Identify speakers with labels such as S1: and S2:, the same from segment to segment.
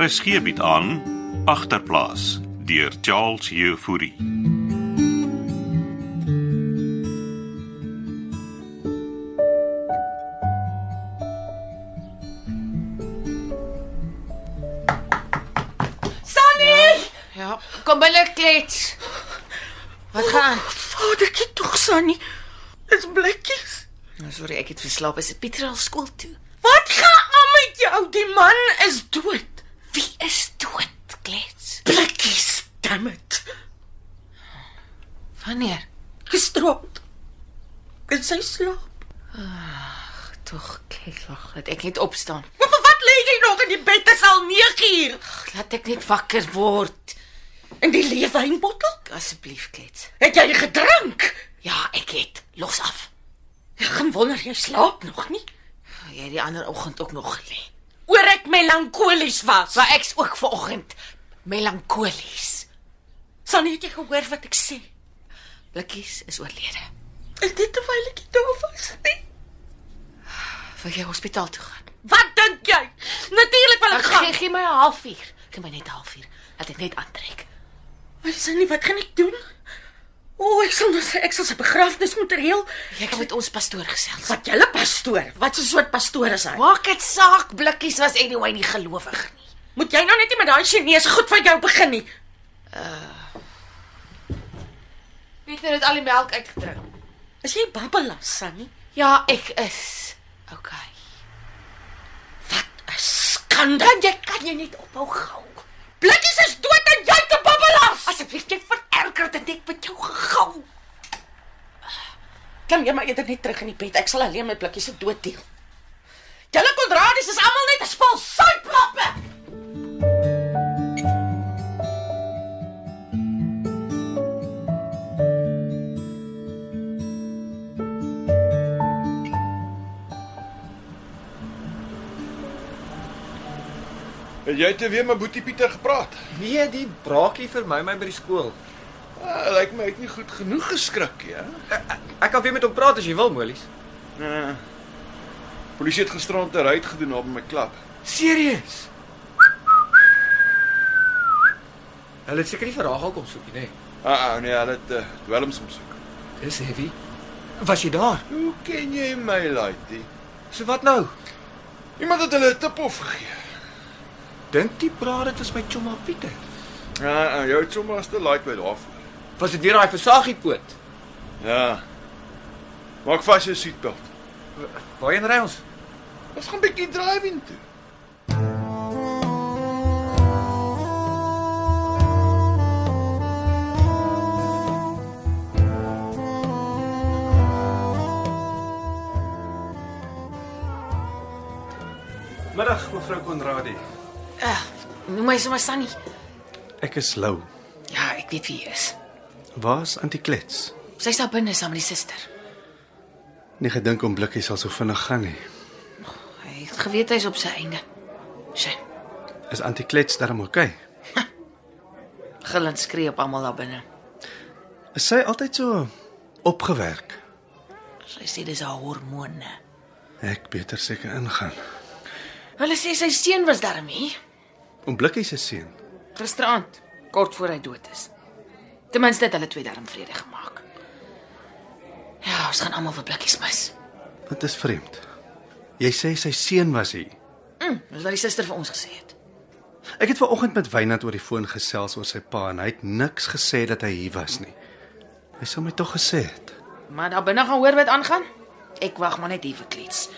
S1: RSG bied Er aan agterplaas deur Charles Jefouri.
S2: Sunny!
S3: Ja, kom binne klets. Wat gaan?
S2: Oh, Vadertjie tog Sunny. Dis blikkies.
S3: Nou sorry, ek het verslaap. Is Pieter al skool toe?
S2: Wat gaan aan met jou? Die man is dood.
S3: Wie is dood, klets?
S2: Blikkies, damn it.
S3: Wanneer?
S2: Gisterop. Dit sy slaap.
S3: Tog, klets, wag, laat ek net opstaan.
S2: Maar vir wat lê jy nog in die bed? Dit is al 9uur.
S3: Ag, Laat ek net wakker word.
S2: En die leewynbottel?
S3: Asseblief, klets.
S2: Het jy gedrink?
S3: Ja, ek het. Los af.
S2: Ek gaan wonder jy slaap nog nie.
S3: Jy het die ander oggend ook nog gelê.
S2: Oor ek melankolies was.
S3: Maar ek's ook vanoggend melankolies.
S2: Sunny het jy gehoor wat ek sê?
S3: Blikkies is oorlede.
S2: Is dit terwyl ek daar was Nee. nie?
S3: Wil jy hospitaal toe gaan?
S2: Wat dink jy? Natuurlik wil ek
S3: Ag,
S2: gaan.
S3: gee, gee my 'n halfuur. Gee my net 'n halfuur. Laat ek net aantrek.
S2: Maar sien nie wat gaan ek doen? O, ek sal dus ek sal sy begrafnis moet reël.
S3: Jy kan met ons pastoor gesels.
S2: Wat julle pastoor? Wat 'n soort pastoor is hy?
S3: Maak dit saak, blikkies was anyway nie gelowig nie.
S2: Moet jy nou net nie met daai Chinese goed van jou begin nie.
S3: Pieter het al die melk uitgedrink.
S2: As jy babbelas, Sunny.
S3: Ja, ek is. OK.
S2: Wat 'n skande.
S3: Dan jy kan jy net ophou gou.
S2: Blikkies is dood en jy te babbelas.
S3: Asseblief, jy vererger dit net met jou gegou.
S2: Klim jy maar eerder net terug in die bed. Ek sal alleen met Blikkies se dood deel. Julle kontradies is almal net 'n spul soutlappe.
S4: Het jy te weer met Boetie Pieter gepraat?
S5: Nee, die braakie vir my my by die skool.
S4: Ah, lyk my hy het nie goed genoeg geskrik nie, hè?
S5: Ek kan weer met hom praat as jy wil, Molies.
S4: Nee, nee, nee. Polisie het gisterand 'n raid gedoen naby my klub.
S5: Serieus? Hulle het seker nie vir Ragel kom soek nie, nê?
S4: Ah, ah nee, hulle het uh, dwelms omsoek.
S5: Dis heavy. Was jy daar?
S4: Hoe ken jy my laaitie?
S5: So wat nou?
S4: Iemand het hulle 'n tip of gegee.
S5: Dink die praat dit was my chomma Pieter.
S4: Ah, ah, jou het sommer as te laait by daarvoor.
S5: Was dit weer daai versagie poot?
S4: Ja. Maak vas jou seatbelt.
S5: Waarheen ry ons?
S4: Ons gaan 'n bietjie driving toe.
S6: Middag mevrou Konradi.
S3: Uh, noem my sommer Sunny.
S6: Ek is Lou.
S3: Ja, ek weet wie jy is.
S6: Waar's Antiklets?
S3: Sy's daar binne saam met die suster.
S6: Nie gedink om blikkie sal so vinnig gaan nie.
S3: Hy het geweet hy's op sy einde. Sy
S6: Is Antiklets darm oukei? Okay?
S3: gil en skree op almal daar binne.
S6: Is sy altyd so opgewerk?
S3: Sy sê dis haar hormone.
S6: Ek beter seker ingaan.
S3: Hulle sê sy seun was daarmee
S6: Om blikkie se seun.
S3: gisterand, kort voor hy dood is. Ten minste het hulle twee darm vrede gemaak. Ja, ons gaan almal vir blikkies mis.
S6: Dit is vreemd. Jy sê sy seun was hy.
S3: Mm, dis wat die suster vir ons gesê het.
S6: Ek het ver oggend met Wynand oor die foon gesels oor sy pa en hy het niks gesê dat hy hier was nie. Hy sou my tog gesê het.
S3: Maar daar binne gaan hoor wat aangaan. Ek wag maar net hier vir klets.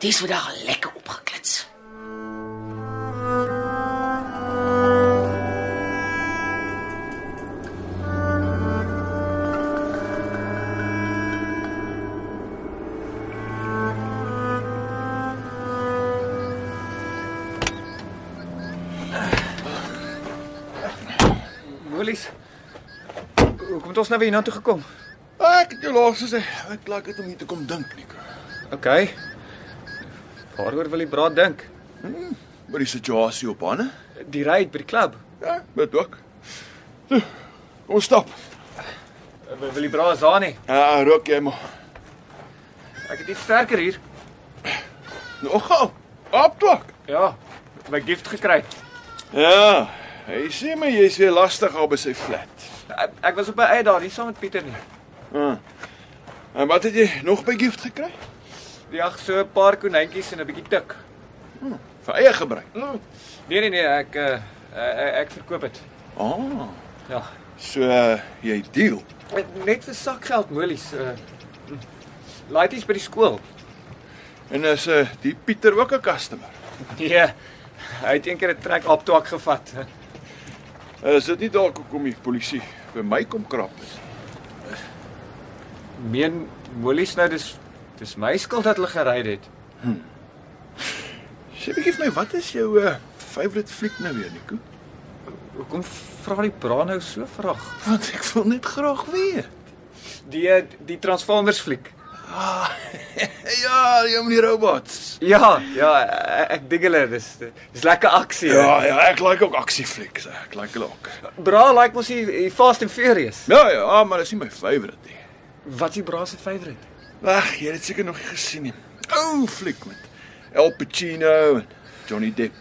S3: Dis vandag lekker opgeklits.
S5: Molies. Hoekom het ons nou weer hiernatoe gekom?
S4: Ah, ek het jou laas gesê, ek klak dit om hier te kom dink, Nico.
S5: OK. Waaroor wil jy praat dink?
S4: Oor die situasie op Hanne?
S5: Die ry by die klub.
S4: Ja, dit ook. Toe, Kom ons stap.
S5: Wil jy braas daar nie?
S4: Ah, rook jy maar.
S5: Ek het iets sterker hier.
S4: Nou, Nogal. Optok.
S5: Ja. my gift gekry.
S4: Ja, hy sê my jy's weer lastig op by sy flat.
S5: Ek, ek was op 'n uit daar, nie saam met Pieter nie.
S4: En wat het jy nog by gift gekry?
S5: Ja, so 'n paar konyntjies en 'n bietjie tik.
S4: Vir eie gebruik.
S5: Nee nee nee, ek uh, ek, ek verkoop dit.
S4: Ah,
S5: Ja.
S4: so uh, jy deal.
S5: Eh, Net vir sakgeld molies. Uh, Laities by die skool.
S4: En is uh, die Pieter ook 'n customer?
S5: Nee. Hy het eendag 'n trek op twak gevat.
S4: Is dit nie dalk hoekom die polisie by my kom krap het?
S5: Meen molies nou dis dis my skuld dat hulle gery het.
S4: Sê bietjie vir my, wat is jou uh, favourite fliek nou weer, Nico?
S5: Hoekom vra die bra nou so vraag?
S4: Want ek wil net graag weet.
S5: Die eh, die Transformers fliek.
S4: Ah, Ja, jy om die robots.
S5: Ja, ja, ek, ek dink hulle dis dis lekker aksie. hè?
S4: Ja, ja, ek like ook aksieflieks. Ek like hulle ook.
S5: Bra like mos die, die Fast and Furious.
S4: Ja, ja, maar dis nie my favourite nie.
S5: Wat is die bra se favourite?
S4: Ag, jy het dit seker nog nie gesien nie. Ou fliek met Al Pacino en Johnny Depp.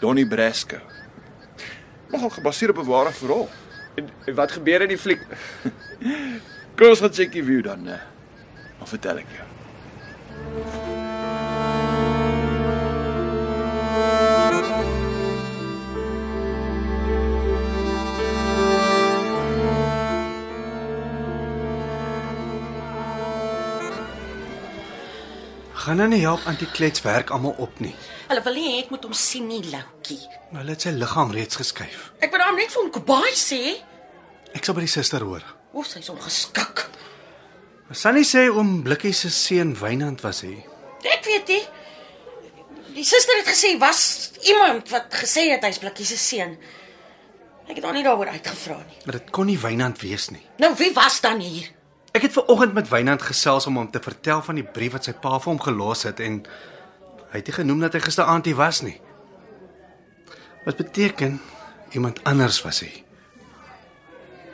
S4: Donnie Brasco. Nogal gebaseer op 'n ware verhaal.
S5: En- en Wat gebeur in die fliek?
S4: Kom ons gaan check die view dan. eh. Dan vertel ek jou.
S6: Gaan nou nie help antiklets werk almal op nie.
S2: Hulle wil nie hê ek moet hom sien nie, Loukie.
S6: Hulle het sy liggaam reeds geskuif.
S2: Ek wou hom net vir hom goodbye sê.
S6: Ek sal by die suster hoor.
S2: O, sy's ongeskik.
S6: Sannie sê oom Blikkie se seun Wynand was hy.
S2: Ek weet nie. Die suster het gesê was iemand wat gesê het hy's blikkie se seun. Ek het haar nie daaroor uitgevra nie.
S6: Maar dit kon nie Wynand wees nie.
S2: Nou wie was dan hier?
S6: Ek het ver oggend met Wynand gesels om hom te vertel van die brief wat sy pa vir hom gelos het en hy het nie genoem dat hy gisteraand hier was nie. Wat beteken iemand anders was hy?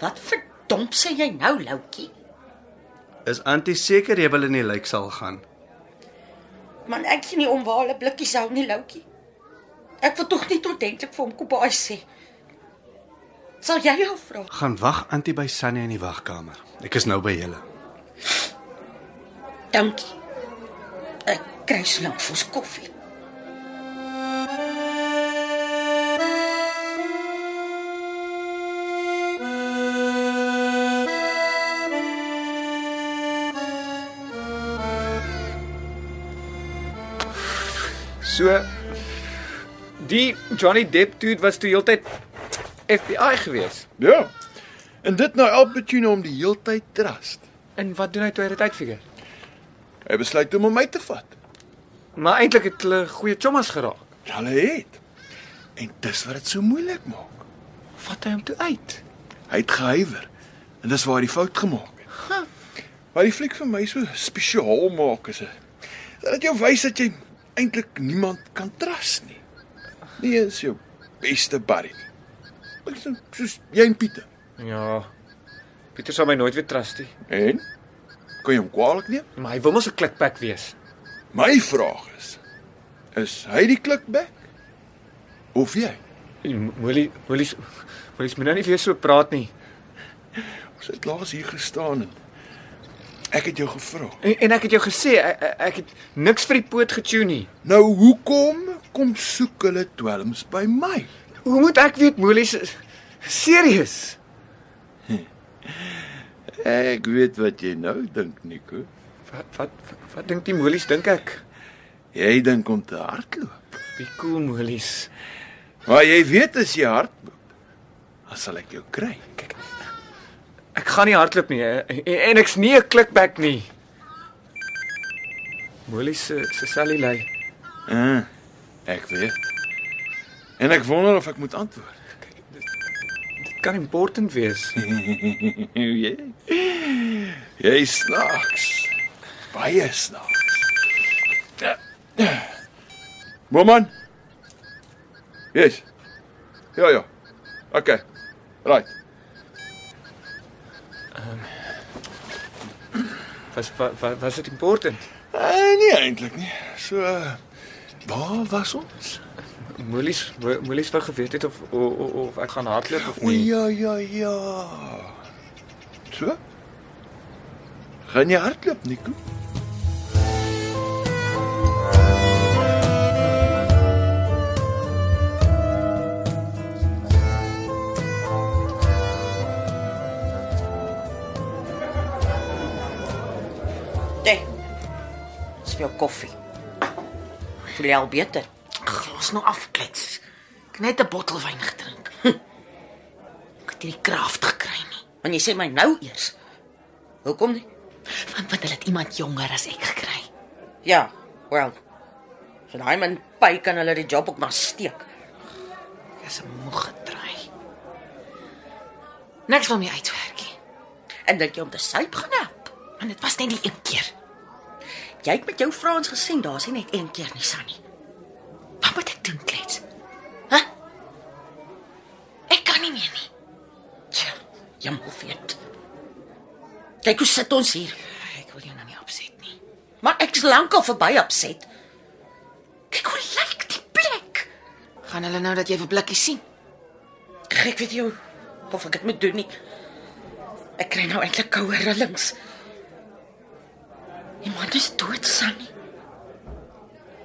S2: Wat verdomp sê jy nou, Loukie?
S6: Is Antie seker jy wil in die lijksaal gaan?
S2: Man, ek gee nie om waar hulle blikkies hou nie, Loukie. Ek wil tog nie ordentlik vir hom kopaai sê. Sal jy jou vra?
S6: Gaan wag Antie by Sannie in die wagkamer. Ek is nou by julle.
S2: Dankie. Ek kry so lank vir ons koffie.
S5: So die Johnny Depp dude was toe heeltyd FBI gewees.
S4: Ja. En dit nou Al Pacino om die heeltyd trust.
S5: En wat doen hy toe hy dit uitfigure?
S4: Hy besluit om hom uit te vat.
S5: Maar eintlik het hulle goeie chommas geraak.
S4: Hulle het. En dis wat dit so moeilik maak.
S5: Vat hy hom toe uit.
S4: Hy het gehuiwer. En dis waar hy die fout gemaak het. Wat die fliek vir my so spesiaal maak is dat dit jou wys dat jy eintlik niemand kan trust nie. Nie eens jou beste buddy nie. Ek sê soos jy en Pieter.
S5: Ja. Pieter sal my nooit weer trust nie.
S4: En kan jy hom kwaadlik neem?
S5: Maar hy wil mos 'n klikpak wees.
S4: My vraag is is hy die klikback of jy?
S5: Moelie moelies moelies moet nou nie weer so praat nie.
S4: Ons het laas hier gestaan en ek het jou gevra.
S5: En, en ek het jou gesê ek, ek- ek het niks vir die poot getune nie.
S4: Nou hoekom kom soek hulle dwelms by my?
S5: Hoe moet ek weet moelies serieus?
S4: Ek weet wat jy nou dink, Nico.
S5: Wat wat wat, wat dink die moelies dink ek?
S4: Jy dink om te hardloop.
S5: Wie cool moelies.
S4: Maar jy weet as jy hardloop, dan sal ek jou kry.
S5: Kyk. Ek gaan nie hardloop nie hè, en, en ek's nie 'n klikbek nie. Moelies se se cellulei.
S4: Uh, ek weet. En ek wonder of ek moet antwoord.
S5: Dit kan important wees.
S4: jy jy snaaks. Baie snaaks. Woman. Yes. Ja ja. Okay. Right.
S5: Was wa- wa- was dit
S4: Eh,
S5: important?
S4: Uh, nee eintlik nie. So uh, waar was ons?
S5: Moelies, Mo- moelies wou geweet het of of, of- of ek gaan hardloop of
S4: O
S5: nie.
S4: ja, ja, ja. So? Gaan jy hardloop, Nico?
S2: Nee. Dis vir jou koffie. Voel jy al beter?
S3: Glos nou afklets. Ek het net 'n bottel wyn gedrink. Hm. Ek het hierdie kraft gekry nie.
S2: Want jy sê my nou eers. Hoekom nie?
S3: Want want hulle het iemand jonger as ek gekry.
S2: Ja, wel. So daai man pay kan hulle die job ook maar steek.
S3: Ek is 'n moeg gedraai. Niks van my uitwerk nie.
S2: En dink jy om te suip gaan help?
S3: En dit was net die een keer.
S2: Jy het met jou Frans gesien, daar's nie net een keer nie, Sunny.
S3: Wat moet ek doen, klets? Hæ? Ek kan nie meer nie.
S2: Tja, jammer weet. Kyk hoe sit ons hier.
S3: Ek wil jou nou nie opset nie.
S2: Maar ek's lankal verby opset.
S3: Kyk hoe lyk die plek. Gaan hulle nou dat jy vir blikkie sien?
S2: Ek weet jou of ek dit moet doen nie. Ek kry nou eintlik koue rillings. Iemand is dood, Sunny.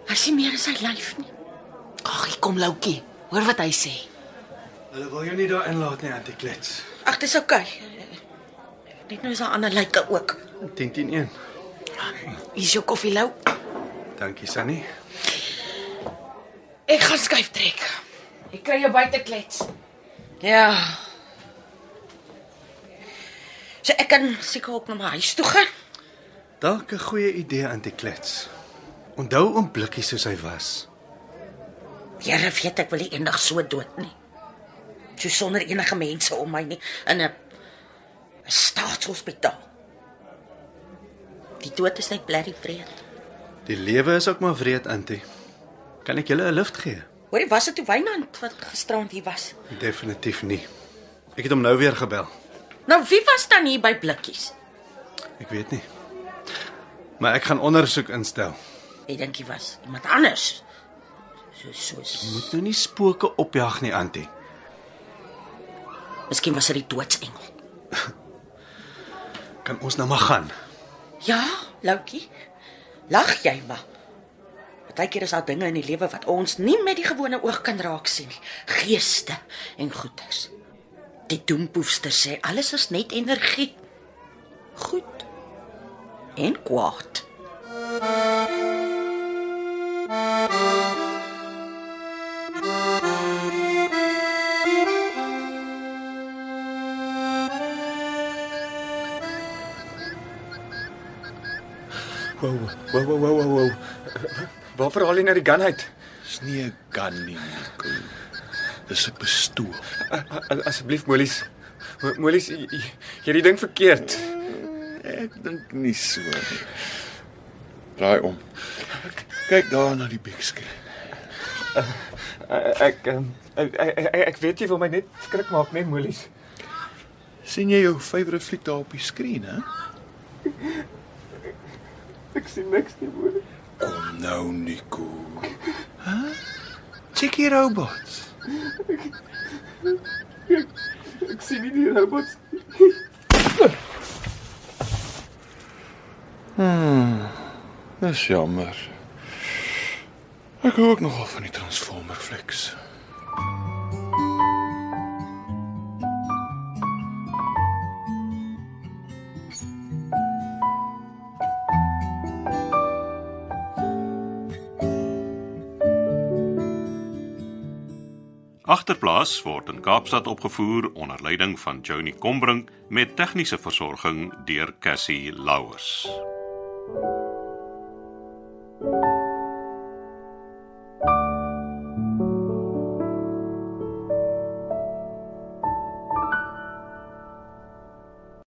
S2: Hy sien meer as hy lyf nie.
S3: Ag, hier kom Loukie. Hoor wat hy sê.
S6: Hulle wil jou nie daarin laat nie, Auntie Klets.
S2: Ag, dis oukei. Net nou is daar ander lyke ook.
S6: 10 10 1.
S3: Hier is jou koffie, Lou.
S6: Dankie, Sunny.
S3: Ek gaan skuif trek. Ek kry jou buite klets.
S2: Ja. So ek kan seker ook na my huis toe gaan.
S6: Dalk 'n goeie idee, Auntie Klets. Onthou om blikkie soos hy was.
S2: Here weet ek wil nie eendag so dood nie. So sonder enige mense om my nie in 'n 'n staatshospitaal. Die dood is net blerry vreed.
S6: Die lewe is ook maar wreed, Auntie. Kan ek julle 'n lift gee?
S2: Hoorie, was dit toe Wynand wat gisterand hier was?
S6: Definitief nie. Ek het hom nou weer gebel.
S2: Nou wie was dan hier by Blikkies?
S6: Ek weet nie. Maar ek gaan ondersoek instel.
S2: Ek dink hy was iemand anders. So so.
S6: Moet nou nie spooke opjag nie, Auntie.
S2: Miskien was dit die doodsengel.
S6: Kan ons nou maar gaan?
S2: Ja, Loukie. Lag jy maar. Partykeer is daar dinge in die lewe wat ons nie met die gewone oog kan raak sien nie. Geeste en goeters. Die doempoester sê alles is net energie. Goed en kwaad.
S5: Wow, wow, wow, wow, wow, wow. Waarvoor haal jy nou die gun uit?
S4: Dis nie 'n gun nie, Nico. Dis 'n pistool.
S5: A- a- Asseblief, Moelies. Mo- Moelies, jy jy- jy het die ding verkeerd.
S4: Ek dink nie so nie. Draai om. Kyk daar na die big skerm.
S5: Ek ehm, ek ek, ek- ek weet jy wil my net skrik maak, nee, Moelies.
S4: sien jy jou favourite fliek daar op die skerm, hè?
S5: Ek sien niks nie, Moelies.
S4: Kom nou, Nico. Hæ? Check hier robots.
S5: Ek sien nie die robots.
S4: Hmm, Dis jammer. Ek hou ook nogal van die Transformer flieks.
S1: Agterplaas word in Kaapstad opgevoer onder leiding van Johnny Combrink met tegniese versorging deur Cassie Louws.